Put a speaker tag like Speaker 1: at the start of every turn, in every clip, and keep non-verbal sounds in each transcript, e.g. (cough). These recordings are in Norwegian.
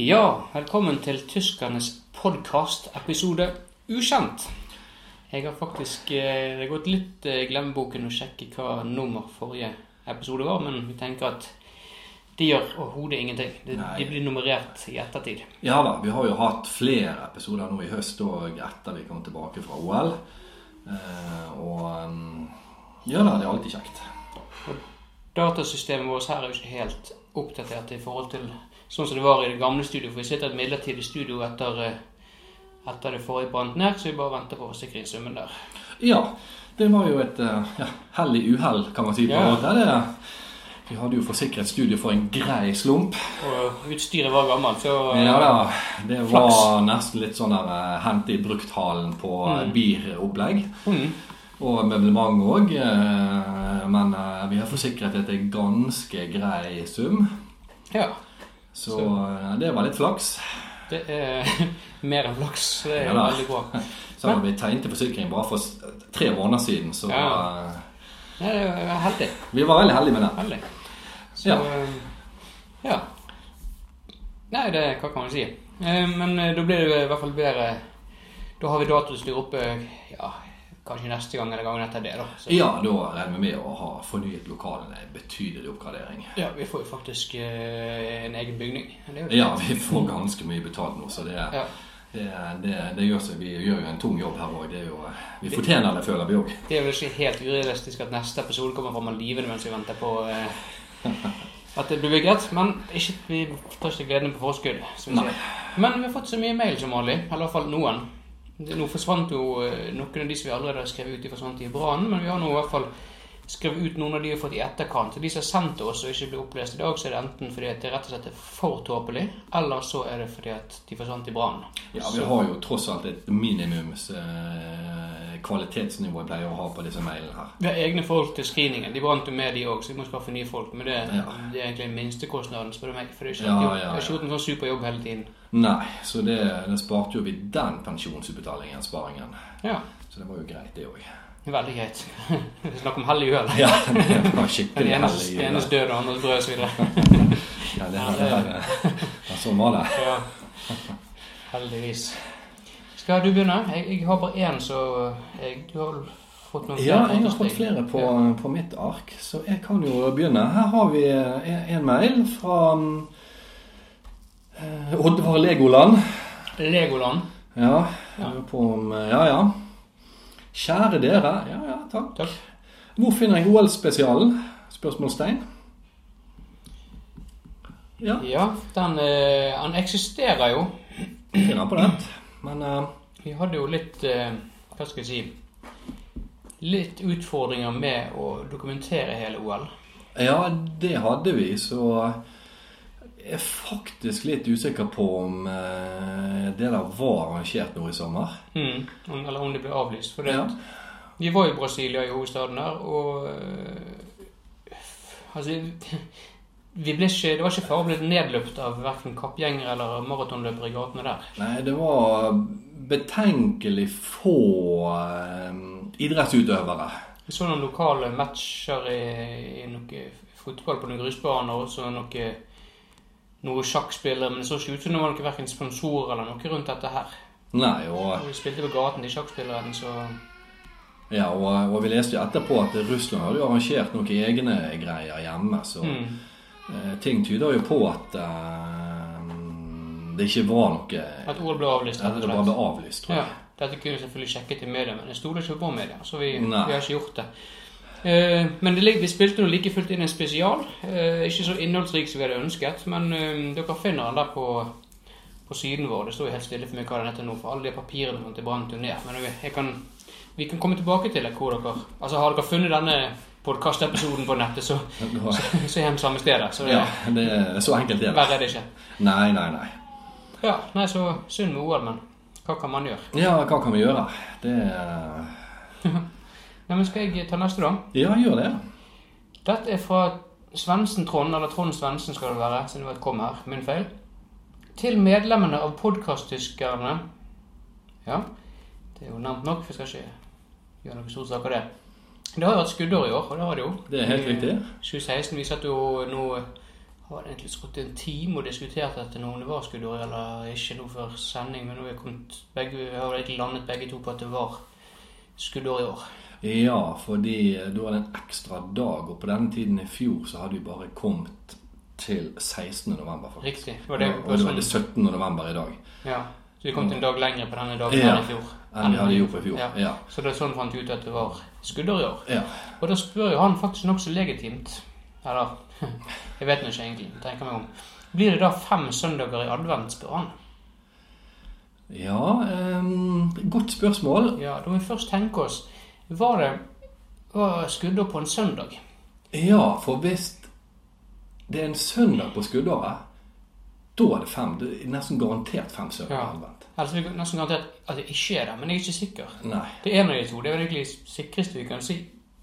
Speaker 1: Ja, velkommen til tyskernes podkast, episode ukjent. Jeg har faktisk eh, Det har gått litt eh, i glemmeboken å sjekke hva nummer forrige episode var, men vi tenker at de gjør overhodet ingenting. De,
Speaker 2: Nei.
Speaker 1: de blir nummerert i ettertid.
Speaker 2: Ja da, vi har jo hatt flere episoder nå i høst og etter vi kom tilbake fra OL. Eh, og mm, ja da, det er alltid kjekt.
Speaker 1: Datasystemet vårt her er jo ikke helt oppdatert i forhold til sånn som det var i det gamle studioet. For vi sitter i et midlertidig studio etter, eh, etter det forrige brant ned, så vi bare venter på forsikringssummen der.
Speaker 2: Ja, det var jo et eh, ja, hell i uhell, kan man si. på
Speaker 1: Ja.
Speaker 2: en måte. Det, vi hadde jo forsikret studio for en grei slump.
Speaker 1: Og utstyret var gammelt, så
Speaker 2: Ja da, Det var
Speaker 1: Flaks.
Speaker 2: nesten litt sånn der eh, hente i brukthallen på
Speaker 1: Mm.
Speaker 2: mm. biropplegg.
Speaker 1: Mhm.
Speaker 2: Og møblement òg. Men eh, vi har forsikret etter ganske grei sum.
Speaker 1: ja.
Speaker 2: Så,
Speaker 1: Så-
Speaker 2: eh, det var litt flaks.
Speaker 1: Det er (laughs) mer enn flaks. Det er
Speaker 2: Ja da.
Speaker 1: veldig bra.
Speaker 2: Så hadde vi tegnet til forsikring bare for s- tre måneder siden, så
Speaker 1: Ja.
Speaker 2: eh,
Speaker 1: Nei, det er heldig.
Speaker 2: vi var veldig heldige med det.
Speaker 1: Heldig. Så
Speaker 2: Ja.
Speaker 1: eh, ja. Nei, det hva kan man si? Eh, Men eh, da blir det jo i hvert fall bedre. Da har vi datautstyr oppe ja, kanskje neste gang eller gangen etter det. da. Så,
Speaker 2: Ja, da regner vi med å ha fornyet lokalene i betydelig oppgradering.
Speaker 1: ja, Vi får jo faktisk eh, en egen bygning. Det er jo
Speaker 2: Ja, vi får ganske mye betalt nå, så det,
Speaker 1: Ja.
Speaker 2: det, det, det gjør seg. Vi gjør jo en tung jobb her òg. Vi fortjener det, føler vi òg.
Speaker 1: Det er vel ikke helt urealistisk at neste episode kommer fram av livene mens vi venter på eh, at det blir bygget. Men ikke, vi tar ikke gleden på forskudd. Som vi
Speaker 2: Nei.
Speaker 1: sier. Men vi har fått så mye mail som vanlig. Eller iallfall noen. Det- Nå forsvant jo eh, noen av de som vi allerede har skrevet ut, de forsvant i brannen. Men vi har nå i hvert fall skrevet ut noen av de vi har fått i etterkant. Så de som har sendt oss og ikke blir opplest i dag, så er det enten fordi at det rett og slett er for tåpelig, eller så er det fordi at de forsvant i brannen.
Speaker 2: Ja, vi har jo tross alt et minimums eh, kvalitetsnivå jeg pleier å ha på disse mailene her.
Speaker 1: Vi har egne folk til screeningen. De brant jo med, de òg, så vi må skaffe nye folk. Men det,
Speaker 2: Ja.
Speaker 1: det er egentlig minstekostnaden, spør du meg. For det er ikke
Speaker 2: Ja,
Speaker 1: alltid-
Speaker 2: ja,
Speaker 1: jeg har ikke
Speaker 2: ja.
Speaker 1: gjort en sånn superjobb hele tiden.
Speaker 2: Nei, så det, det sparte jo vi den pensjonsutbetalingen, sparingen.
Speaker 1: Ja,
Speaker 2: Så det var jo greit, det òg.
Speaker 1: det er veldig greit. (laughs) Det er Snakk om hell i uhell.
Speaker 2: Ja, det var
Speaker 1: Den
Speaker 2: skikkelig
Speaker 1: enes,
Speaker 2: heldig.
Speaker 1: den enes
Speaker 2: Ja,
Speaker 1: død og andres brød osv.
Speaker 2: (laughs) det her- ja, sånn var det.
Speaker 1: Ja. Heldigvis. Skal du begynne? Jeg, jeg har bare én, så jeg, du har vel fått noen
Speaker 2: Ja, jeg har fått
Speaker 1: forslag?
Speaker 2: flere på,
Speaker 1: Ja.
Speaker 2: på mitt ark, så jeg kan jo begynne. Her har vi eh, en mail fra eh, Oddvar Legoland.
Speaker 1: Legoland.
Speaker 2: Ja,
Speaker 1: Ja.
Speaker 2: jeg lurer på om eh, Ja, ja. Kjære dere. Ja, ja, takk.
Speaker 1: Takk.
Speaker 2: Hvor finner jeg OL-spesialen? Spørsmålstegn. Ja,
Speaker 1: Ja, den, eh, han eksisterer jo.
Speaker 2: finner på det. Men eh,
Speaker 1: Vi hadde jo litt eh, Hva skal jeg si Litt utfordringer med å dokumentere hele OL.
Speaker 2: Ja, det hadde vi, så jeg er faktisk litt usikker på om eh, det der var arrangert nå i sommer.
Speaker 1: Mm. om- Eller om det ble avlyst. For det,
Speaker 2: Ja.
Speaker 1: vi var i Brasilia, i hovedstaden der, og eh, Altså (laughs) vi ble ikke, Det var ikke fare å bli nedløpt av verken kappgjengere eller maratonløpere i gatene der.
Speaker 2: Nei, det var betenkelig få eh, idrettsutøvere.
Speaker 1: Vi så noen lokale matcher i, i noe fotball på noen grusbaner, og så noe noen sjakkspillere, men det så ikke ut som det var noe verken sponsorer eller noe rundt dette her.
Speaker 2: Nei, og,
Speaker 1: Og Vi spilte på gaten, de sjakkspillerne, så
Speaker 2: ja, og, og vi leste jo etterpå at Russland hadde jo arrangert noen egne greier hjemme, så
Speaker 1: mm.
Speaker 2: eh, ting tyder jo på at eh, det ikke var noe
Speaker 1: At OL ble avlyst.
Speaker 2: Eller
Speaker 1: rett
Speaker 2: det
Speaker 1: og
Speaker 2: bare
Speaker 1: slett.
Speaker 2: ble avlyst, tror
Speaker 1: Ja,
Speaker 2: jeg.
Speaker 1: Dette kunne vi selvfølgelig sjekket i media, men jeg stoler ikke på media. Så vi, vi
Speaker 2: Nei.
Speaker 1: har ikke gjort det. Eh, men det, lig- vi spilte nå like fullt inn en spesial. Eh, ikke så innholdsrik som vi hadde ønsket, men eh, dere finner den der på, på siden vår. Det står jo helt stille for meg hva den heter nå, for alle de papirene som det brant jo ned. Men jeg, jeg kan, vi kan komme tilbake til det. hvor dere... Altså, Har dere funnet denne podkastepisoden på nettet, så, (laughs)
Speaker 2: (laughs) Det var-
Speaker 1: så, så er den samme stedet. Så det,
Speaker 2: Ja, det er så enkelt det er.
Speaker 1: verre er det ikke.
Speaker 2: Nei, nei, nei.
Speaker 1: Ja, nei, så synd med OL, men hva kan man gjøre?
Speaker 2: Ja, hva kan vi gjøre? Det er-
Speaker 1: Nei, men Skal jeg ta neste, da?
Speaker 2: Ja, gjør det.
Speaker 1: Dette er fra Svendsen Trond, eller Trond Svendsen skal det være, siden det var et kom her. Min feil. Til medlemmene av podkast-tyskerne Ja, det er jo nevnt nok, for jeg skal ikke gjøre noe stor sak av det. Det har jo vært skuddår i år, og det har det jo.
Speaker 2: Det er helt riktig.
Speaker 1: 2016. Vi satt jo nå eh, har egentlig sittet en time og diskutert dette nå, om det var skuddår eller ikke nå før sending, men nå har vi kommet begge, vi har egentlig landet begge to på at det var skuddår i år.
Speaker 2: Ja, fordi eh, da var det en ekstra dag, og på denne tiden i fjor så hadde vi bare kommet til 16. november, faktisk.
Speaker 1: Riktig. Var det,
Speaker 2: og det var det 17. november i dag
Speaker 1: Ja. Så vi kom til en dag lenger på denne dagen
Speaker 2: Ja.
Speaker 1: enn i fjor.
Speaker 2: enn vi hadde gjort i fjor.
Speaker 1: Ja.
Speaker 2: Ja.
Speaker 1: Så det er sånn fant vi ut at det var skuddår i år.
Speaker 2: Ja.
Speaker 1: Og da spør jo han faktisk nokså legitimt Eller (laughs) jeg vet nå ikke egentlig, tenker meg om. Blir det da fem søndager i advent, spør han.
Speaker 2: ja ehm, godt spørsmål.
Speaker 1: Ja, Da må vi først tenke oss Var det var skuddår på en søndag?
Speaker 2: Ja, for hvis det er en søndag på skuddåret, da er det fem. Det er nesten garantert fem søndager
Speaker 1: Ja.
Speaker 2: advent.
Speaker 1: Ellers vil jeg Altså, nesten garantert at det ikke er det, men jeg er ikke sikker.
Speaker 2: Nei.
Speaker 1: Det er en av de to. Det er vel egentlig det sikreste vi kan si.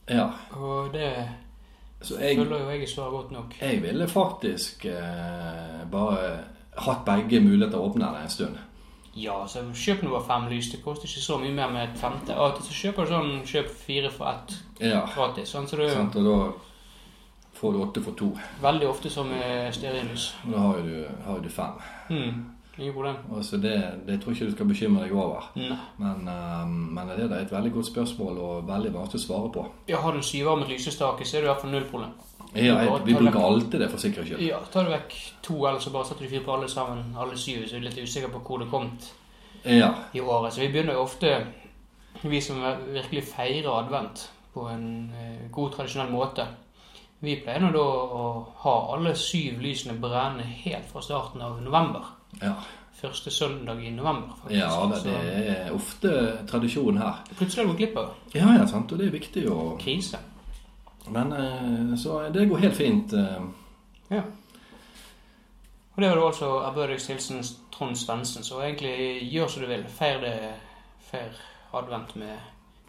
Speaker 2: Ja.
Speaker 1: Og det
Speaker 2: Så jeg,
Speaker 1: føler jo jeg er svaret godt nok.
Speaker 2: jeg ville faktisk eh, bare hatt begge muligheter åpne der en stund.
Speaker 1: Ja, så kjøp nå bare fem lys. Det koster ikke så mye mer med et femte. Og så kjøper du sånn kjøp fire for ett
Speaker 2: Ja.
Speaker 1: gratis. Sånn, så det er jo
Speaker 2: Sant? Og da får du åtte for to.
Speaker 1: veldig ofte som eh, stearinlys.
Speaker 2: Og da har jo du, har jo du fem.
Speaker 1: Mm. Ingen problem.
Speaker 2: Og så det, det tror jeg ikke du skal bekymre deg over.
Speaker 1: Nei.
Speaker 2: Men, eh, men det er et veldig godt spørsmål og veldig vanskelig å svare på.
Speaker 1: Ja, har du en syvarmet lysestake, så er det i hvert fall null problem.
Speaker 2: Ja, jeg, vi bruker alltid det for sikkerhets skyld.
Speaker 1: Ja, Tar du vekk to, eller så bare setter du fyr på alle sammen, alle syv, så er du litt usikker på hvor det kom
Speaker 2: Ja.
Speaker 1: i året. Så vi begynner jo ofte, vi som virkelig feirer advent på en eh, god, tradisjonell måte. Vi pleier nå da å ha alle syv lysene brennende helt fra starten av november.
Speaker 2: Ja,
Speaker 1: Første søndag i november, faktisk.
Speaker 2: ja det, det er ofte tradisjon her.
Speaker 1: Så plutselig har du gått glipp av det.
Speaker 2: Ja, ja, sant, og det er viktig å
Speaker 1: krise.
Speaker 2: Men eh, så det går helt fint. eh.
Speaker 1: Og det var det altså ærbødigst hilsen Trond Svendsen. Så egentlig gjør som du vil. Feir det feir advent med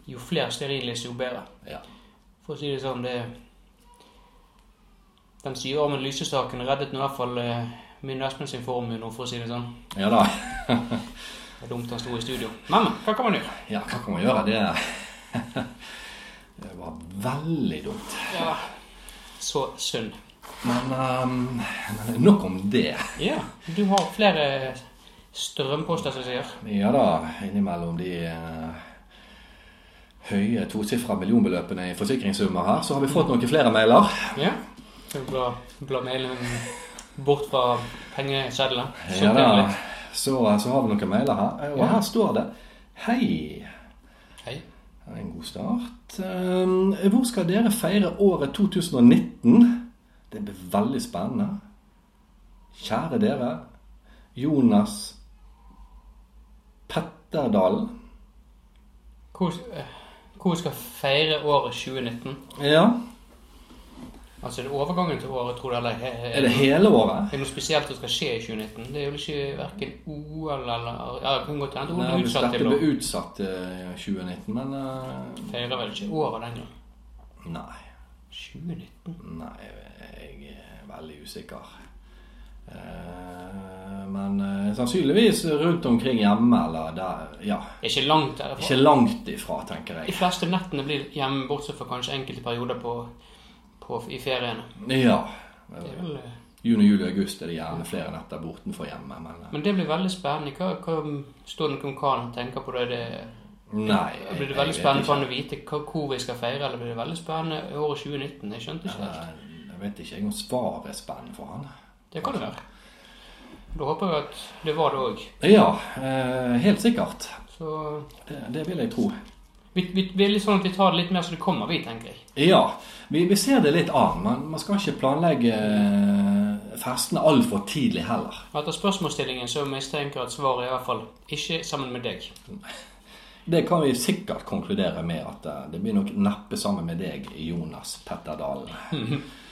Speaker 1: jo flere stearinlys, jo bedre.
Speaker 2: Ja.
Speaker 1: For å si det sånn, det Den syvarmede lysestaken reddet nå i hvert fall eh, min Espen sin formue nå, for å si det sånn.
Speaker 2: Ja da.
Speaker 1: Det er dumt han sto i studio. Men, men, hva kan man gjøre?
Speaker 2: Ja, hva kan man gjøre? Det (laughs) Det var veldig dumt.
Speaker 1: Ja. Så synd.
Speaker 2: Men eh, nok om det.
Speaker 1: Ja, du har flere strømposter, som jeg sier.
Speaker 2: Ja da, innimellom de eh, høye tosifra millionbeløpene i forsikringssummer her, så har vi fått noen flere mailer.
Speaker 1: Ja. Skal vi bla, bla mailen bort fra pengesedlene? Så
Speaker 2: Ja da.
Speaker 1: trivelig.
Speaker 2: Så, så har vi noen mailer her, og
Speaker 1: Ja.
Speaker 2: her står det Hei.
Speaker 1: Hei.
Speaker 2: Det er En god start. Ehm, Hvor skal dere feire året 2019? Det blir veldig spennende. Kjære dere. Jonas Petterdalen.
Speaker 1: Hvor, eh, hvor vi skal feire året 2019?
Speaker 2: Ja,
Speaker 1: Altså, er det overgangen til året, tror du, eller he-
Speaker 2: er det hele året?
Speaker 1: er det noe spesielt som skal skje i 2019? Det er vel ikke hverken OL eller Ja, det kan godt hende OL
Speaker 2: Nei,
Speaker 1: er
Speaker 2: hvis
Speaker 1: utsatt
Speaker 2: dette
Speaker 1: til
Speaker 2: ble
Speaker 1: å
Speaker 2: utsatt eh, 2019, men eh,
Speaker 1: Feirer vel ikke året den gang.
Speaker 2: Nei.
Speaker 1: 2019?
Speaker 2: Nei, jeg er veldig usikker. Eh, Men eh, sannsynligvis rundt omkring hjemme eller der. Ja.
Speaker 1: Det er ikke langt derfra.
Speaker 2: Ikke langt ifra, tenker
Speaker 1: De
Speaker 2: jeg.
Speaker 1: fleste nettene blir hjemme, bortsett fra kanskje enkelte perioder på, på, i feriene.
Speaker 2: Ja.
Speaker 1: Det er vel, eh,
Speaker 2: Juni, juli, august er det gjerne flere netter bortenfor hjemme, men eh,
Speaker 1: men det blir veldig spennende. Hva, hva står det noe om hva han tenker på? da? Er det
Speaker 2: Nei. jeg-
Speaker 1: Blir det
Speaker 2: jeg
Speaker 1: veldig
Speaker 2: vet
Speaker 1: spennende
Speaker 2: ikke.
Speaker 1: for han å vite hva- hvor vi skal feire, eller blir det veldig spennende året 2019? Jeg skjønte ikke helt.
Speaker 2: Eh, Jeg vet ikke jeg om svaret er spennende for han.
Speaker 1: Det kan det være. Da håper jeg at det var det òg.
Speaker 2: Ja, eh, helt sikkert.
Speaker 1: Så
Speaker 2: Det, det vil jeg tro.
Speaker 1: vi, vi, vi er litt sånn at vi tar det litt mer så det kommer, vi, tenker jeg.
Speaker 2: Ja, vi, vi ser det litt an, men man skal ikke planlegge eh, festene altfor tidlig heller.
Speaker 1: Etter spørsmålsstillingen så mistenker jeg at svaret er i hvert fall ikke sammen med deg.
Speaker 2: Det kan vi sikkert konkludere med at eh, det blir nok neppe sammen med deg, Jonas Petterdalen.
Speaker 1: (laughs)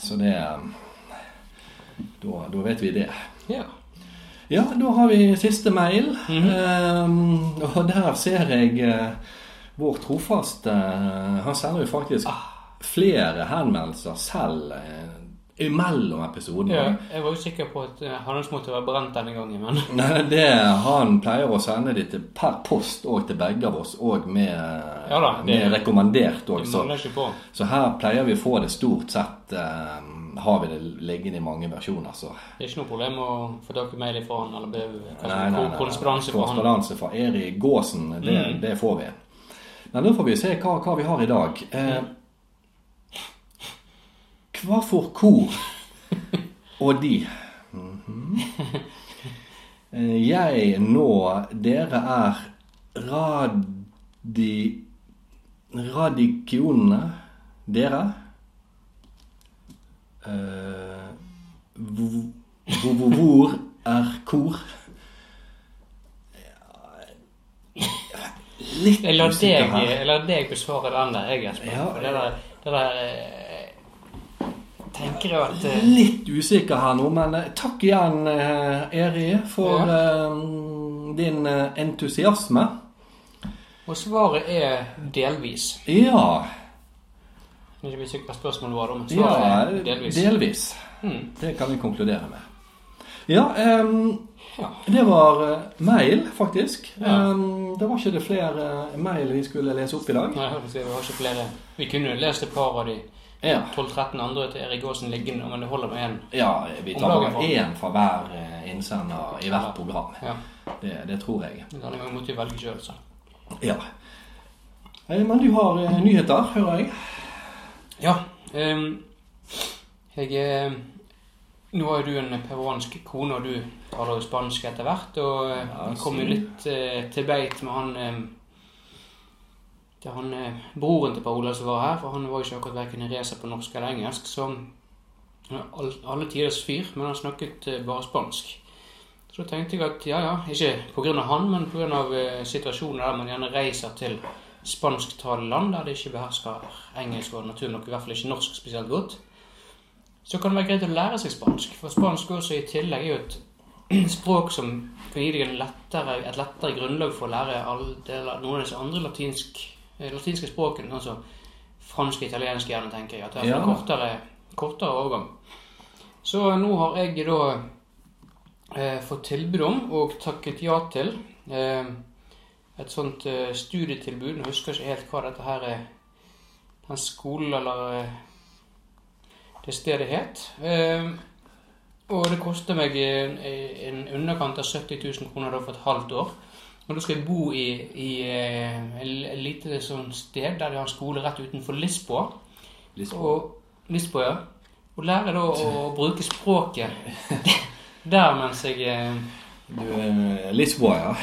Speaker 2: Så det eh, da, da vet vi det.
Speaker 1: Ja.
Speaker 2: Ja, da har vi siste mail.
Speaker 1: Mhm.
Speaker 2: Eh, og der ser jeg eh, vår trofaste eh, Han sender jo faktisk
Speaker 1: Ah.
Speaker 2: flere henvendelser selv eh, imellom episodene.
Speaker 1: ja. Jeg var usikker på at eh, Hannes måtte være brent denne gangen, men
Speaker 2: (laughs) Nei, det Han pleier å sende de til per post og til begge av oss, og med,
Speaker 1: Ja da, det- (laughs) Mm.
Speaker 2: med rekommandert
Speaker 1: det
Speaker 2: òg. Så,
Speaker 1: mangler ikke på.
Speaker 2: så her pleier vi å få det stort sett eh, har vi det liggende i mange versjoner, så
Speaker 1: Det er ikke noe problem å få tak i mail ifra han, eller be, kanskje
Speaker 2: Nei, nei, nei, nei.
Speaker 1: korrespondanse fra han.
Speaker 2: Korrespondanse fra Erik Gåsen, det,
Speaker 1: Mm.
Speaker 2: det får vi. Men nå får vi se hva, hva vi har i dag. Eh, hva for kor og de?
Speaker 1: (laughs)
Speaker 2: Mhm. Eh, Jeg nå Dere er radi... Radikionene. Dere. Eh, hvor- hvor hvor er kor? Litt
Speaker 1: Jeg lar
Speaker 2: usikker
Speaker 1: deg, eh,
Speaker 2: her.
Speaker 1: jeg lar deg besvare den der, jeg, Jesper.
Speaker 2: Ja,
Speaker 1: for det der, det der eh, Tenker jeg at eh,
Speaker 2: Litt usikker her nå, men eh, takk igjen, eh, Eri, for eh, din eh, entusiasme.
Speaker 1: Og svaret er delvis.
Speaker 2: Ja,
Speaker 1: Jeg er ikke helt sikker på hva spørsmålet var, da, men
Speaker 2: ja
Speaker 1: svaret er delvis.
Speaker 2: delvis.
Speaker 1: Mm.
Speaker 2: Det kan vi konkludere med. Ja, em,
Speaker 1: Ja.
Speaker 2: det var eh, mail, faktisk.
Speaker 1: Ja.
Speaker 2: Em, det var ikke det flere eh, mail vi skulle lese opp i dag.
Speaker 1: Nei, jeg hørte si, vi har ikke flere. Vi kunne jo lest et par av de
Speaker 2: Ja,
Speaker 1: 12-13 andre til Erik Aasen liggende, men det holder med én.
Speaker 2: ja vi
Speaker 1: Om
Speaker 2: tar
Speaker 1: dagen
Speaker 2: bare
Speaker 1: for-
Speaker 2: én fra hver eh, innsender i hvert program.
Speaker 1: Ja.
Speaker 2: Det, det tror jeg.
Speaker 1: Den andre gangen måtte vi velge sjøl, så.
Speaker 2: Ja. Eh, Men du har eh, nyheter, hører jeg.
Speaker 1: Ja. ehm, jeg eh, Nå har jo du en peruansk kone, og du taler jo spansk etter hvert. Og eh,
Speaker 2: Ja,
Speaker 1: vi kom jo
Speaker 2: så-
Speaker 1: litt eh, til beit med han ehm, det er han, eh, Broren til Per Olav som var her, for han var jo ikke akkurat verken i racer på norsk eller engelsk. Så han er all, alle tiders fyr, men han snakket eh, bare spansk. Så da tenkte jeg at ja ja, ikke pga. han, men pga. Eh, situasjonen der man gjerne reiser til spansktalende land der de ikke behersker engelsk og naturlig nok i hvert fall ikke norsk spesielt godt, så kan det være greit å lære seg spansk. For spansk også i tillegg er jo et (clears throat) språk som kan gi deg en lettere, et lettere grunnlag for å lære alle deler, noen av disse andre latinsk, eh, latinske språkene, sånn som fransk og italiensk gjerne, tenker jeg. At det er
Speaker 2: Ja.
Speaker 1: en kortere, kortere overgang. Så nå har jeg da eh, fått tilbud om, og takket ja til, eh, et sånt eh, studietilbud. Jeg husker ikke helt hva dette her er. Den skolen eller eh, det stedet het. Eh, og det koster meg en, en underkant av 70 000 kroner da for et halvt år. Og da skal jeg bo i, i eh, en- en lite sånn sted der de har skole rett utenfor Lisboa. Og Lisboa, ja. Og lære da å, å bruke språket der mens jeg eh,
Speaker 2: Du, eh, Lisboa, ja.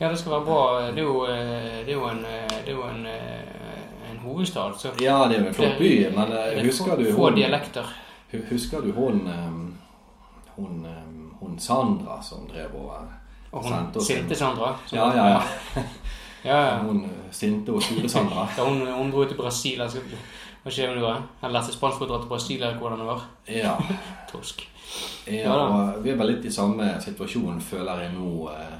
Speaker 1: Ja, det skal være bra. Det er jo, eh, det er jo, en, eh, det er jo en, eh, en hovedstad. Så
Speaker 2: Ja, det er jo en flott by, men eh,
Speaker 1: det er
Speaker 2: husker
Speaker 1: få-
Speaker 2: du
Speaker 1: Få
Speaker 2: hun
Speaker 1: dialekter.
Speaker 2: hu- Husker du hun eh, Hun, eh, hun Sandra som drev og eh,
Speaker 1: Og
Speaker 2: sendte
Speaker 1: hun
Speaker 2: oss en-
Speaker 1: sinte Sandra. som-
Speaker 2: Ja, ja, (laughs) ja.
Speaker 1: (laughs) ja, ja.
Speaker 2: Hun eh, sinte og sure
Speaker 1: (laughs)
Speaker 2: Sandra.
Speaker 1: Da hun, hun dro til Brasil, altså, hva skjer med det? Han lærte spansk og dra til Brasil, eller hvordan det var.
Speaker 2: Ja.
Speaker 1: Torsk.
Speaker 2: ja og vi er vel litt i samme situasjon, føler jeg nå. eh,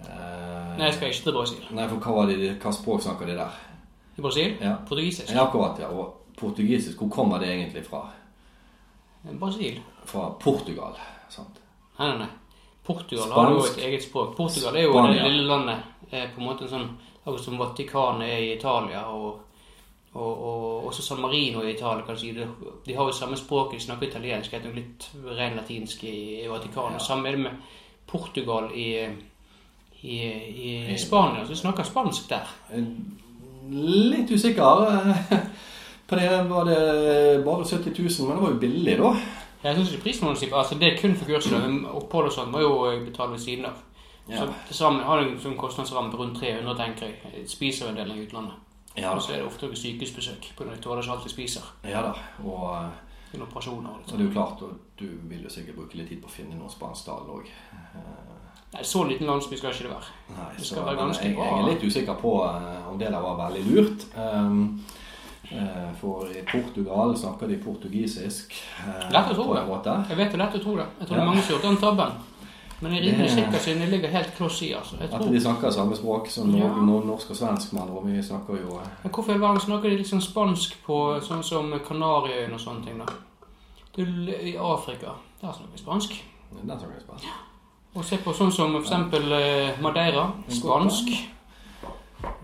Speaker 2: eh,
Speaker 1: Nei, jeg skal ikke til Brasil.
Speaker 2: Nei, for hva, var det, de- hva språk snakker de der?
Speaker 1: I Brasil?
Speaker 2: Ja.
Speaker 1: Portugisisk.
Speaker 2: Ja, akkurat, ja. Og portugisisk, hvor kommer det egentlig fra?
Speaker 1: Brasil?
Speaker 2: Fra Portugal, sant?
Speaker 1: Nei, nei, nei. Portugal har jo et
Speaker 2: Spansk.
Speaker 1: eget språk. Portugal er jo
Speaker 2: Spania.
Speaker 1: det lille landet. eh, På en måte en sånn, Akkurat som Vatikanet er i Italia, og, og, og også San Marino i Italia. kan du si. De, de har jo samme språk, de snakker italiensk, det er nok litt ren latinsk i, i Vatikanet.
Speaker 2: Ja.
Speaker 1: Samme er det med Portugal i, i, i, Spania. Så de snakker spansk der.
Speaker 2: Litt usikker. eh, (laughs) På det var det bare 70 000, men det var jo billig, da.
Speaker 1: Jeg syns ikke prisen var noe sikkert. Altså, det er kun for kurset. men Opphold og sånt må jo betale ved siden av.
Speaker 2: Ja.
Speaker 1: Så til sammen har det en sånn kostnadsramme på rundt 300, tenker jeg. Spiser en del i utlandet.
Speaker 2: Ja
Speaker 1: Og
Speaker 2: da.
Speaker 1: så er det ofte også sykehusbesøk. På grunn av at de tåler ikke alt de spiser.
Speaker 2: Ja da. Og, eh,
Speaker 1: Til operasjoner og sånn. litt
Speaker 2: så det
Speaker 1: sånt.
Speaker 2: er jo klart, og du vil jo sikkert bruke litt tid på å finne noen spansk dal eh. òg.
Speaker 1: Nei, så liten landsby skal ikke det være.
Speaker 2: Nei,
Speaker 1: Det
Speaker 2: så
Speaker 1: skal være
Speaker 2: men
Speaker 1: ganske
Speaker 2: jeg,
Speaker 1: bra.
Speaker 2: jeg er litt usikker på eh, om det der var veldig lurt. Ehm, eh, for i Portugal snakker de portugisisk. eh,
Speaker 1: Lett å tro,
Speaker 2: på en
Speaker 1: ja.
Speaker 2: måte.
Speaker 1: Jeg vet det er lett å tro det. Jeg tror det
Speaker 2: Ja.
Speaker 1: er mange som har gjort den tabben. Men jeg er rimelig
Speaker 2: Det-
Speaker 1: sikker siden jeg ligger helt kloss i, altså. Jeg
Speaker 2: At
Speaker 1: tror.
Speaker 2: de snakker samme språk som
Speaker 1: Ja.
Speaker 2: nor- nor- norsk og svensk, men og vi snakker jo eh,
Speaker 1: Men hvorfor i all verden snakker de liksom spansk på sånn som Kanariøyene og sånne ting, da? Du, I Afrika, der snakker de spansk.
Speaker 2: Den snakker vi spansk.
Speaker 1: Og se på sånn som for eksempel eh, Madeira. Spansk.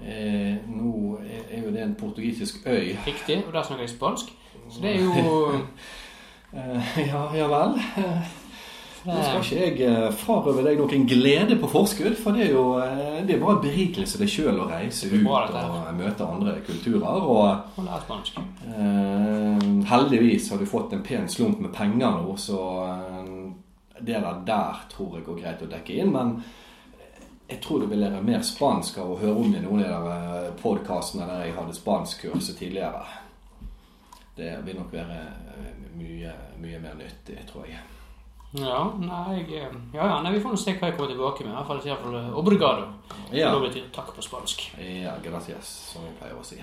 Speaker 2: Eh, nå er er jo det en portugisisk øy.
Speaker 1: Riktig. Og der snakker de spansk. Så det er (laughs) jo
Speaker 2: Eh, (laughs) ja, ja vel. Eh, Nå skal ikke jeg eh, frarøve deg noen glede på forskudd, for det er jo eh, det er bare en berikelse det sjøl å reise
Speaker 1: Det er
Speaker 2: ut
Speaker 1: bra, dette
Speaker 2: og møte andre kulturer. Og
Speaker 1: Hun lærer spansk.
Speaker 2: eh, heldigvis har du fått en pen slump med penger nå, så eh, det der, der tror jeg går greit å dekke inn. Men jeg tror du vil lære mer spansk av å høre om i noen av de der podkastene der jeg hadde spanskkurset tidligere. Det vil nok være eh, mye, mye mer nyttig, tror jeg.
Speaker 1: Ja, nei, jeg, eh, ja, ja, nei, vi får nå se hva jeg kommer tilbake med. I hvert fall, i hvert fall eh, obrigado.
Speaker 2: Ja.
Speaker 1: Da betyr takk på spansk.
Speaker 2: Ja, gracias, som vi pleier å si.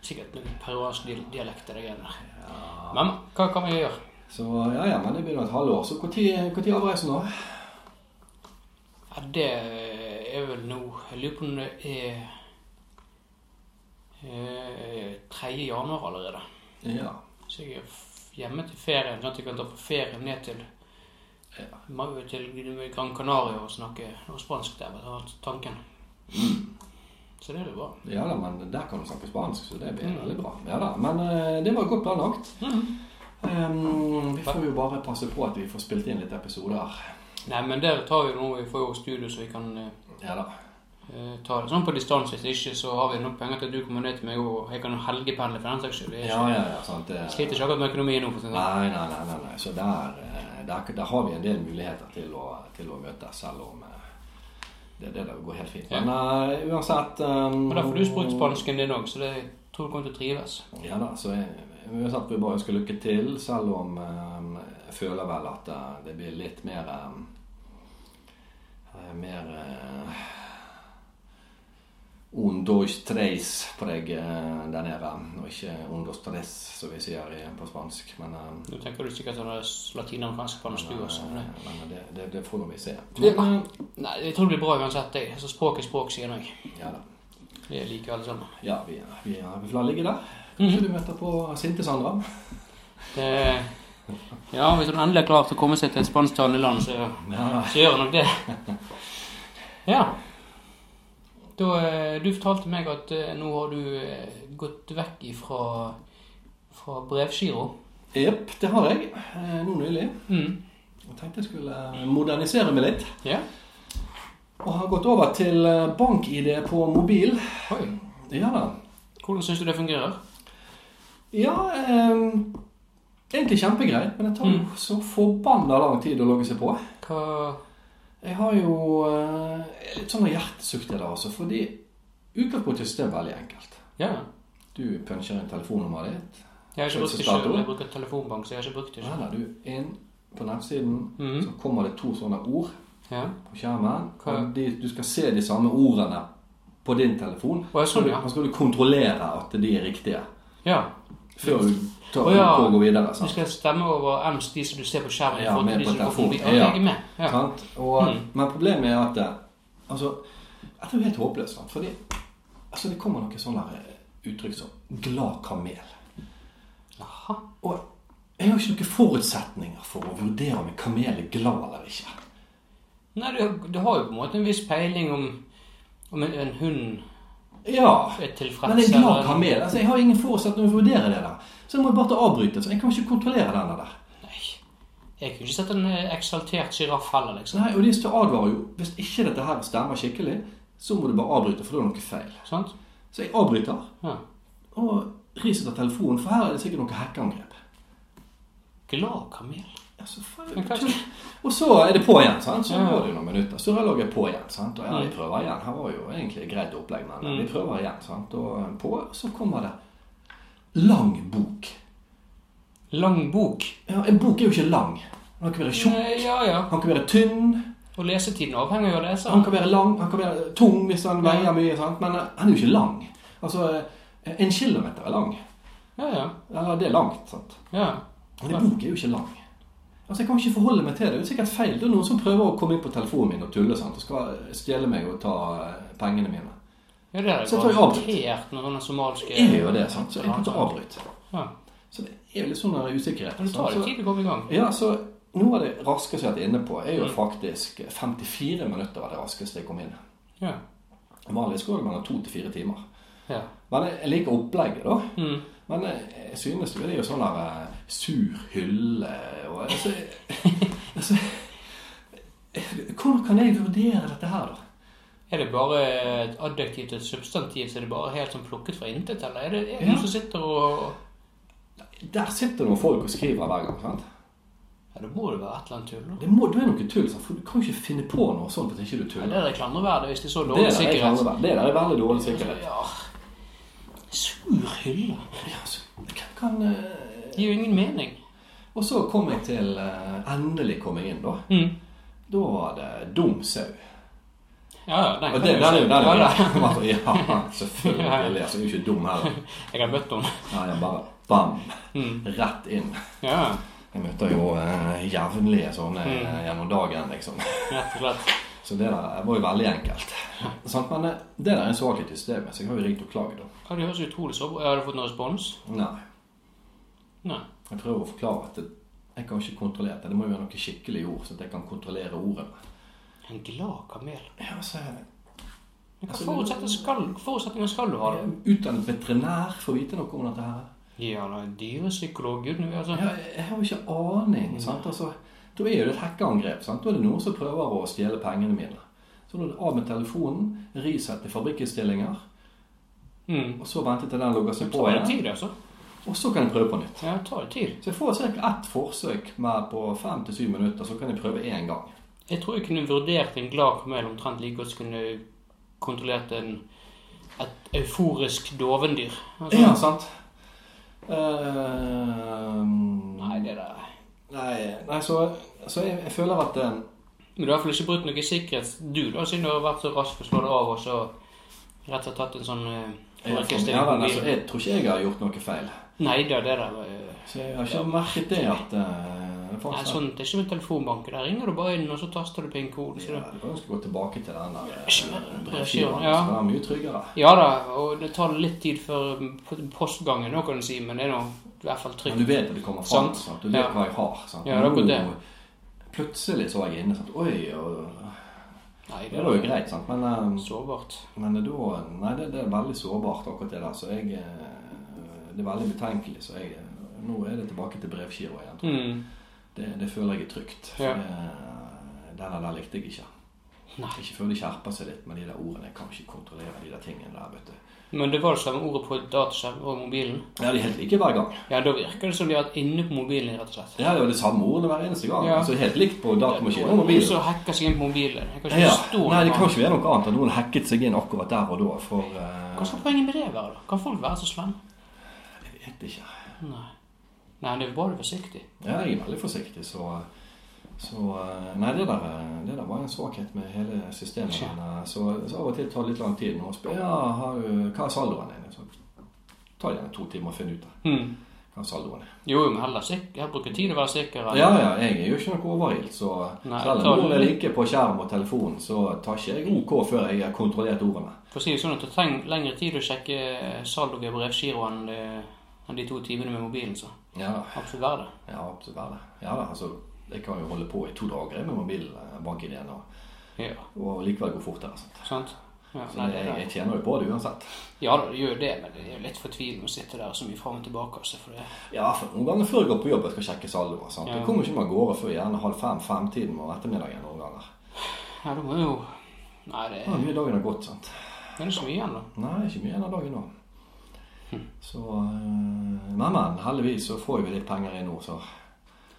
Speaker 1: Sikkert noen peruansk dial- dialekt eller greier der. Men hva kan vi gjøre?
Speaker 2: Så ja, ja, men det begynner et halvår. Så når avreiser nå?
Speaker 1: Ja, det eh, er vel nå Jeg lurer på om det er eh, 3. januar allerede.
Speaker 2: Ja.
Speaker 1: Så jeg er f- hjemme til ferien, sånn at jeg kan dra på ferie ned til,
Speaker 2: Ja.
Speaker 1: Ma- til Gran Canaria og snakke noe spansk der. Det var tanken.
Speaker 2: Mm.
Speaker 1: Så det er jo bra.
Speaker 2: ja da, men der kan du snakke spansk, så det blir
Speaker 1: Mm.
Speaker 2: veldig bra. Ja da, Men eh, det var godt planlagt. Ehm, vi får jo bare passe på at vi får spilt inn litt episoder.
Speaker 1: Nei, men der tar vi noe, vi får jo studio så vi kan eh,
Speaker 2: Ja da.
Speaker 1: eh, ta det sånn på distanse. Hvis ikke så har vi nok penger til at du kommer ned til meg og jeg kan helgependle for den saks skyld. Jeg
Speaker 2: Ja, ja, ja, sant. det-
Speaker 1: sliter ikke akkurat med økonomien nå. for å si det sånn.
Speaker 2: Nei, nei, nei, nei, nei. Så der, eh, der, der har vi en del muligheter til å, til å møtes, selv om eh, det, det der går helt fint. Men eh, uansett ehm,
Speaker 1: Men da får du språket spansken din òg, så det jeg tror du kommer til å trives.
Speaker 2: Ja da, så jeg, uansett vil jeg bare ønske lykke til, selv om eh, jeg føler vel at eh, det blir litt mer ehm, eh, eh, Mer eh, Un, dos, tres på deg eh, der nede, og ikke un, dos, tres, som vi sier i- på spansk. Men, eh,
Speaker 1: Nå tenker du sikkert sånn eh, latinamerikansk spansk du også. men det-
Speaker 2: men det, det, det får nå vi se. eh,
Speaker 1: Det- Nei, jeg tror det blir bra uansett. Jeg. Altså, språk er språk, sier jeg.
Speaker 2: Ja da.
Speaker 1: Det liker alle sammen.
Speaker 2: Ja, vi, vi, vi får la ligge der.
Speaker 1: Mhm.
Speaker 2: Kanskje du møter på sinte Sandra.
Speaker 1: Det, ja, hvis hun endelig er klar til å komme seg til et spansktalende land, så
Speaker 2: Ja.
Speaker 1: Så gjør han nok det. Ja. Da, eh, du fortalte meg at eh, nå har du eh, gått vekk ifra fra brevgiro.
Speaker 2: Jepp, det har jeg. eh, Nå nylig.
Speaker 1: Mm.
Speaker 2: Jeg tenkte jeg skulle modernisere meg litt.
Speaker 1: Ja.
Speaker 2: Og har gått over til eh, bank-ID på mobil.
Speaker 1: Oi.
Speaker 2: Ja da.
Speaker 1: Hvordan syns du det fungerer?
Speaker 2: Ja, eh, egentlig kjempegreit, men det tar jo så forbanna lang tid å logge seg på.
Speaker 1: Hva
Speaker 2: Jeg har jo eh, litt sånn hjertesukk til det, altså. Fordi utgangspunktet er det veldig enkelt.
Speaker 1: Ja.
Speaker 2: Du puncher inn telefonnummeret ditt.
Speaker 1: Jeg har ikke brukt det
Speaker 2: Fødselsdato?
Speaker 1: selv. Jeg bruker telefonbank, så jeg har ikke brukt det selv.
Speaker 2: Heller du inn på nettsiden,
Speaker 1: Mhm.
Speaker 2: så kommer det to sånne ord
Speaker 1: Ja.
Speaker 2: på skjermen.
Speaker 1: Hva?
Speaker 2: Og de, du skal se de samme ordene på din telefon.
Speaker 1: Å, ja, sånn, ja.
Speaker 2: Så skal du kontrollere at de er riktige.
Speaker 1: ja.
Speaker 2: Før du tar
Speaker 1: Å, ja.
Speaker 2: på og går videre.
Speaker 1: Du
Speaker 2: Sant?
Speaker 1: skal stemme overens de som du ser på skjermen.
Speaker 2: Ja,
Speaker 1: for
Speaker 2: med
Speaker 1: de
Speaker 2: på
Speaker 1: som går
Speaker 2: telefonen.
Speaker 1: forbi. Ja,
Speaker 2: Ja.
Speaker 1: jeg er med. Ja. Mm.
Speaker 2: Sant? Og, Men problemet er at eh, altså, Dette er jo helt håpløst. Sant? Fordi altså, det kommer noen sånne eh, uttrykk som 'glad kamel'.
Speaker 1: Aha.
Speaker 2: Og jeg har ikke noen forutsetninger for å vurdere om en kamel er glad eller ikke.
Speaker 1: Nei, du, du har jo på en måte en viss peiling om, om en, en hund
Speaker 2: Ja,
Speaker 1: er tilfreds.
Speaker 2: Men en glad
Speaker 1: eller-
Speaker 2: kamel altså, Jeg har ingen forutsetning for å vurdere det der. Så jeg må bare ta avbryte. Så jeg kan ikke kontrollere denne der.
Speaker 1: Nei. Jeg kunne ikke sett en eh, eksaltert sjiraff heller, liksom.
Speaker 2: Nei, og de står advarer jo Hvis ikke dette her stemmer skikkelig, så må du bare avbryte, for da er det noe feil.
Speaker 1: Sant?
Speaker 2: Så jeg avbryter
Speaker 1: Ja.
Speaker 2: og riser av telefonen, for her er det sikkert noe hackangrep.
Speaker 1: Glad kamel.
Speaker 2: Altså, faen,
Speaker 1: Men hva-
Speaker 2: tull. og så er det på igjen, sant? så
Speaker 1: Ja.
Speaker 2: går det jo noen minutter. Så logger jeg på igjen. sant? Og ja, vi
Speaker 1: Mm.
Speaker 2: prøver igjen. Her var jo egentlig et greit opplegg, men
Speaker 1: Mm.
Speaker 2: vi prøver igjen. sant? Og eh, på, så kommer det lang bok.
Speaker 1: Lang bok.
Speaker 2: Ja, En bok er jo ikke lang. Den kan være tjukk,
Speaker 1: Nei, Ja, ja.
Speaker 2: den kan være tynn.
Speaker 1: Og lesetiden avhenger jo av
Speaker 2: Han
Speaker 1: leseren.
Speaker 2: kan være lang, han kan være tung hvis han veier mye, sant? men eh, han er jo ikke lang. Altså, eh, en kilometer er lang.
Speaker 1: Ja, ja.
Speaker 2: Eller det er langt, sant.
Speaker 1: ja.
Speaker 2: Men en bok er jo ikke lang. Altså, Jeg kan ikke forholde meg til det. Det er sikkert feil. Det er noen som prøver å komme inn på telefonen min og tulle sant? og skal stjele meg og ta eh, pengene mine.
Speaker 1: Ja, det er
Speaker 2: Så tar jeg avbryt.
Speaker 1: garantert med sånne somaliske
Speaker 2: Jeg gjør det, sant? så jeg kan ikke avbryte.
Speaker 1: Ja.
Speaker 2: Så det er jo litt sånn der usikkerhet.
Speaker 1: Men det tar
Speaker 2: sant?
Speaker 1: litt
Speaker 2: Så-
Speaker 1: tid å komme i gang.
Speaker 2: Ja, så noe av det raskeste jeg har vært inne på, er jo faktisk eh, 54 minutter var det raskeste jeg kom inn.
Speaker 1: Ja.
Speaker 2: Vanligvis går det mellom to til fire timer.
Speaker 1: ja.
Speaker 2: Men jeg jeg liker opplegget, da.
Speaker 1: Mm.
Speaker 2: Men eh, jeg synes jo det er jo sånn der eh, sur hylle og altså, (laughs) altså, Hvordan kan jeg vurdere dette her, da?
Speaker 1: Er det bare et adjektiv til et substantiv, så er det bare helt sånn plukket fra intet, eller er det, er det
Speaker 2: Ja.
Speaker 1: noen som sitter og
Speaker 2: Der sitter noen folk og skriver hver gang. sant?
Speaker 1: Ja, da må det være et eller annet tull. da.
Speaker 2: Det, må, det er noe tull, sant? for du kan jo ikke finne på noe sånt at ikke du
Speaker 1: Ja,
Speaker 2: tuller.
Speaker 1: det er det klandreverdig hvis det er så
Speaker 2: Det
Speaker 1: dårlig
Speaker 2: er der jeg
Speaker 1: sikkerhet.
Speaker 2: kan være- det der er veldig dårlig sikkerhet.
Speaker 1: Ja. Sur hylle.
Speaker 2: Ja, altså, hvem kan... eh,
Speaker 1: Det gir jo ingen mening.
Speaker 2: Og så kom jeg til eh, Endelig kom jeg inn, da.
Speaker 1: Mm.
Speaker 2: Da var det dum sau.
Speaker 1: Ja, ja, den kan
Speaker 2: Og det,
Speaker 1: jeg
Speaker 2: den er jo den
Speaker 1: Ja,
Speaker 2: er
Speaker 1: ja.
Speaker 2: jo (laughs) Ja, selvfølgelig. Altså, hun er jo ikke dum heller.
Speaker 1: Jeg har møtt henne.
Speaker 2: Nei, jeg bare bam!
Speaker 1: Mm.
Speaker 2: Rett inn.
Speaker 1: (laughs) Ja,
Speaker 2: Jeg møter jo eh, jevnlig sånne eh, gjennom dagen, liksom.
Speaker 1: rett og slett.
Speaker 2: Så det der var jo veldig enkelt. Sant? Men eh, det der er en svakhet i systemet, så jeg har jo ringt og klaget. da.
Speaker 1: Ja, det høres utrolig så bra Har du fått noen respons?
Speaker 2: Nei.
Speaker 1: Nei.
Speaker 2: Jeg prøver å forklare at det, jeg kan ikke kontrollere det. Det må jo være noe skikkelig ord, så at jeg kan kontrollere ordene.
Speaker 1: En glad kamel.
Speaker 2: Ja, så er det
Speaker 1: Men hva forutsetninger skal, forutsetninger skal du ha? da?
Speaker 2: Utdannet veterinær for å vite noe om dette her.
Speaker 1: Ja, da, en dyrepsykolog, gud, nå, altså.
Speaker 2: Jeg, jeg har jo ikke aning. sant? Altså, da er det et hackerangrep. sant? Da er det noen som prøver å stjele pengene mine. Så da er det av med telefonen, reset til fabrikkinnstillinger,
Speaker 1: Mm.
Speaker 2: og så ventet til den logger seg på
Speaker 1: Tar det
Speaker 2: igjen.
Speaker 1: tid, altså?
Speaker 2: Og så kan jeg prøve på nytt.
Speaker 1: Ja, tar det tid.
Speaker 2: Så jeg får ca. ett forsøk med på fem til syv minutter, så kan jeg prøve én gang.
Speaker 1: Jeg tror jeg kunne vurdert en glad kamel omtrent like godt som kunne kontrollert en, et euforisk dovendyr. Altså,
Speaker 2: Ja, sant? Eh,
Speaker 1: Nei, det der.
Speaker 2: nei, nei, så, så jeg, jeg føler at eh,
Speaker 1: Men du har i hvert fall ikke brutt noe sikkerhets... Du, da, siden du har vært så rask til å slå det av, og så rett og slett tatt en sånn
Speaker 2: jeg, ja, vel, altså, jeg tror ikke jeg har gjort noe feil.
Speaker 1: Nei da, det der eh,
Speaker 2: Så jeg har ikke merket det at eh, det
Speaker 1: Nei,
Speaker 2: faktisk-
Speaker 1: sånn, Det er ikke med telefonbanken. Der ringer du bare inn, og så taster du pin-koden.
Speaker 2: Ja,
Speaker 1: så det-
Speaker 2: det var ønskelig å gå tilbake til den der eh,
Speaker 1: Skjønner.
Speaker 2: brevskivaen.
Speaker 1: Ja.
Speaker 2: så Den er mye tryggere.
Speaker 1: Ja da, og det tar litt tid før postgangen, nå kan du si, men det er nå i hvert fall
Speaker 2: Men du
Speaker 1: trygt.
Speaker 2: vet hvor det kommer fra.
Speaker 1: Sant.
Speaker 2: Sant? Du vet
Speaker 1: Ja.
Speaker 2: hva jeg har. Sant?
Speaker 1: Ja, det er akkurat det.
Speaker 2: Nå, Plutselig så var jeg inne sant? Oi, og,
Speaker 1: Nei,
Speaker 2: det var jo greit, sant? Men, eh,
Speaker 1: Sårbart.
Speaker 2: men da Nei, det, det er veldig sårbart, akkurat det der. Så jeg eh, Det er veldig betenkelig. Så jeg eh, Nå er det tilbake til brevgiro igjen. tror jeg.
Speaker 1: Mm.
Speaker 2: Det, det føler jeg er trygt. For
Speaker 1: Ja.
Speaker 2: det- den der der likte jeg ikke.
Speaker 1: Nei.
Speaker 2: Ikke før de skjerper seg litt med de der ordene. Jeg kan ikke kontrollere de der tingene der, vet du.
Speaker 1: Men det var det samme ordet på dataskjermen og mobilen.
Speaker 2: Ja, de er helt like hver gang.
Speaker 1: Ja, da virker det som de har vært inne på mobilen, rett og slett.
Speaker 2: Ja, det er jo det samme ordene hver eneste gang.
Speaker 1: Ja.
Speaker 2: Altså helt likt på datamaskin og
Speaker 1: Noen
Speaker 2: mobil.
Speaker 1: som hacker seg inn på mobilen. Jeg kan ikke
Speaker 2: Ja.
Speaker 1: forstå
Speaker 2: Nei, det
Speaker 1: noe
Speaker 2: kan
Speaker 1: annet.
Speaker 2: ikke være noe annet enn noen hacket seg inn akkurat der og da. For eh,
Speaker 1: Hva skal poenget med det være, da? Kan folk være så slemme?
Speaker 2: jeg vet ikke.
Speaker 1: Nei. Nei, det er bare forsiktig.
Speaker 2: Ja, jeg er veldig forsiktig, så så eh, Nei, det der, eh, det der var en svakhet med hele systemet.
Speaker 1: Ja.
Speaker 2: Men, eh, så, så av og til tar det litt lang tid. Når man spør ja, har du, hva er saldoen din, så tar det gjerne to timer å finne ut av
Speaker 1: Hmm.
Speaker 2: hva er saldoen er.
Speaker 1: Jo, jo, men heller sikker. Jeg bruker tid å være sikker. enn-
Speaker 2: Ja, ja, jeg er jo ikke noe overilt, så
Speaker 1: Nei,
Speaker 2: selv
Speaker 1: tar
Speaker 2: om
Speaker 1: du-
Speaker 2: noen er like på skjerm og telefon, så tar ikke jeg OK før jeg har kontrollert ordene.
Speaker 1: For å si det sånn at det trenger lengre tid å sjekke saldo via brevgiro enn det- enn de to timene med mobilen, så.
Speaker 2: Ja,
Speaker 1: Absolutt verre.
Speaker 2: Ja, absolutt være det. Ja, da, altså, jeg kan jo holde på i to dager med eh, mobilbankideen og,
Speaker 1: Ja,
Speaker 2: og likevel gå fortere. Sant?
Speaker 1: sant? Ja,
Speaker 2: Så
Speaker 1: nei,
Speaker 2: det,
Speaker 1: det
Speaker 2: jeg,
Speaker 1: er
Speaker 2: jeg tjener jo på det uansett.
Speaker 1: Ja, det gjør jo det, men det er jo litt fortvilende å sitte der så mye fram og tilbake, altså. For det
Speaker 2: Ja, for noen ganger før jeg går på jobb jeg skal sjekke saldoer. sant?
Speaker 1: Ja.
Speaker 2: Jeg kommer ikke meg av gårde før gjerne halv fem-femtiden om ettermiddagen noen ganger.
Speaker 1: Ja, det må jo Nei, det
Speaker 2: Ja, mye av dagen har gått, sant.
Speaker 1: det er ikke så mye igjen, da.
Speaker 2: Nei, ikke mye igjen av dagen nå.
Speaker 1: Hm.
Speaker 2: Så eh, Men, men. Heldigvis så får vi litt penger inn nå, så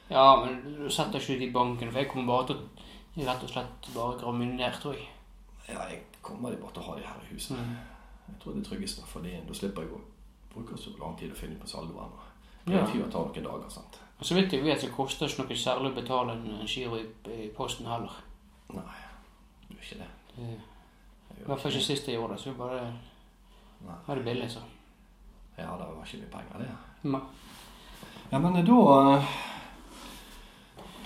Speaker 1: Ja, men du setter ikke ut i banken, for jeg kommer bare til å rett og slett bare graminere, tror jeg.
Speaker 2: ja, jeg kommer bare til å ha de her i huset. Jeg tror det er tryggest, fordi da slipper jeg å bruke så lang tid å finne ut på saldoen. Det
Speaker 1: Ja.
Speaker 2: er jo tar noen dager, sant.
Speaker 1: Og så vidt jeg vet, så koster det ikke noe særlig å betale en, en giro i, i posten heller.
Speaker 2: Nei, det er ikke det.
Speaker 1: Det, I hvert fall ikke sist jeg gjorde det, så vi bare
Speaker 2: Nei.
Speaker 1: var det billig, så.
Speaker 2: Ja, det var ikke mye penger, det.
Speaker 1: Ma-
Speaker 2: Ja, men da eh,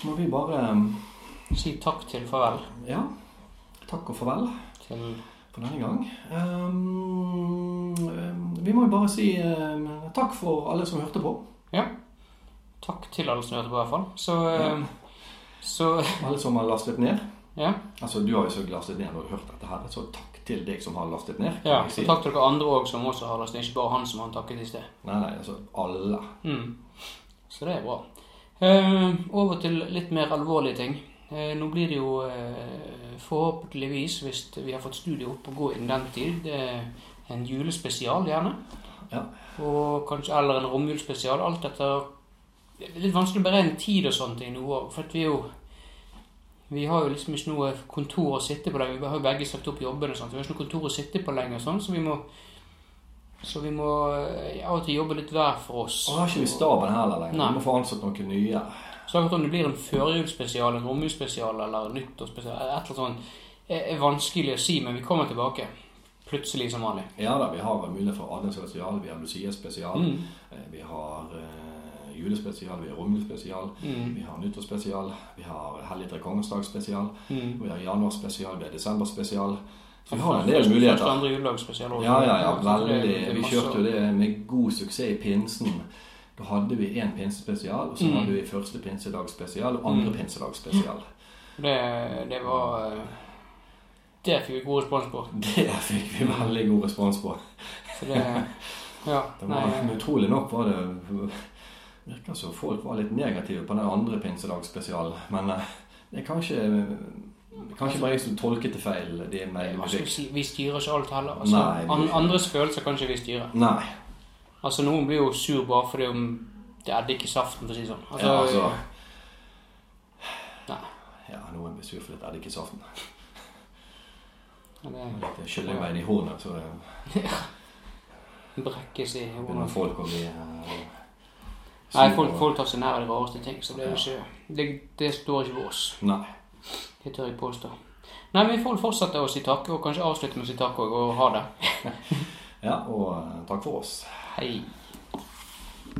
Speaker 2: må vi bare eh,
Speaker 1: Si takk til farvel
Speaker 2: Ja. Takk og farvel
Speaker 1: til
Speaker 2: for denne gang. Ehm, ehm, vi må jo bare si ehm, takk for alle som hørte på.
Speaker 1: Ja. Takk til alle som hørte på, i hvert fall. Så eh, Så
Speaker 2: Alle som har lastet ned.
Speaker 1: Ja.
Speaker 2: Altså, du har jo selvfølgelig lastet ned når du har hørt dette her, så takk til deg som har lastet ned. kan
Speaker 1: Ja,
Speaker 2: jeg
Speaker 1: så
Speaker 2: si.
Speaker 1: takk til dere andre òg som også har lastet, ikke bare han som han takket i sted.
Speaker 2: Nei, nei, altså alle.
Speaker 1: Mm. Så det er bra. Eh, over til litt mer alvorlige ting. Eh, nå blir det jo eh, forhåpentligvis, hvis vi har fått studiet opp og gå innen den tid, eh, en julespesial gjerne.
Speaker 2: Ja.
Speaker 1: Og kanskje, eller en romjulsspesial. Alt etter Det er litt vanskelig å beregne tid og sånne ting nå. For at vi er jo Vi har jo liksom ikke noe kontor å sitte på lenger. Vi har jo begge sagt opp jobben og sånt. Vi har ikke noe kontor å sitte på lenger, og sånn, så vi må så vi må eh, av og til jobbe litt hver for oss.
Speaker 2: Og har ikke vi staben heller lenger.
Speaker 1: Nei.
Speaker 2: Vi må få ansatt noen nye.
Speaker 1: Så akkurat om det blir en førjulsspesial, en romjulsspesial eller nyttårsspesial, et eller annet sånt, er er vanskelig å si, men vi kommer tilbake. Plutselig som vanlig.
Speaker 2: Ja da, vi har mulighet for adventsspesial, vi har Lucia-spesial,
Speaker 1: Mm.
Speaker 2: eh, vi har eh, julespesial, vi har romjulsspesial,
Speaker 1: Mm.
Speaker 2: vi har nyttårsspesial, vi har hellig tre kongers dag-spesial,
Speaker 1: Mm.
Speaker 2: vi har januarspesial, vi har desemberspesial. Så vi har en
Speaker 1: Første-
Speaker 2: del muligheter.
Speaker 1: Første andre juledagsspesial også.
Speaker 2: Ja, ja, ja,
Speaker 1: Så det-
Speaker 2: veldig.
Speaker 1: det er
Speaker 2: Vi
Speaker 1: masse-
Speaker 2: kjørte jo det med god suksess i pinsen. Da hadde vi én pinsespesial, og så
Speaker 1: Mm.
Speaker 2: hadde vi første pinsedagsspesial og andre
Speaker 1: Mm.
Speaker 2: pinsedagsspesial.
Speaker 1: Det, det var eh, Det fikk vi god respons på.
Speaker 2: Det fikk vi veldig god respons på.
Speaker 1: Så det
Speaker 2: (laughs)
Speaker 1: Ja.
Speaker 2: Det
Speaker 1: Nei, eh,
Speaker 2: var, (laughs) men utrolig nok var det Virker som folk var litt negative på den andre pinsedagsspesialen. Men eh, det er kanskje Kanskje bare jeg som tolket det feil. De mailene
Speaker 1: hva
Speaker 2: vi
Speaker 1: skal vi
Speaker 2: fikk.
Speaker 1: si? Vi styrer ikke alt heller. Altså,
Speaker 2: Nei, vi-
Speaker 1: an- andres følelser kan ikke vi styre.
Speaker 2: Nei.
Speaker 1: Altså, noen blir jo sur bare fordi om det er ikke saften, for å si det sånn. Altså,
Speaker 2: ja, altså
Speaker 1: Nei.
Speaker 2: Ja, noen blir sur for litt eddikesaften.
Speaker 1: det
Speaker 2: Litt kyllingbein i hornet. Så eh,
Speaker 1: brekkes i
Speaker 2: begynner
Speaker 1: hodet.
Speaker 2: folk å bli eh,
Speaker 1: Nei,
Speaker 2: sure
Speaker 1: folk,
Speaker 2: og-
Speaker 1: folk tar seg nær av de rareste ting, så det er jo ikke Det, det står ikke ved oss.
Speaker 2: Nei.
Speaker 1: Det tør jeg påstå. Nei, men vi får fortsette å si takk, og kanskje avslutte med å si takk òg, og ha det.
Speaker 2: Ja, og eh, takk for oss.
Speaker 1: Hei.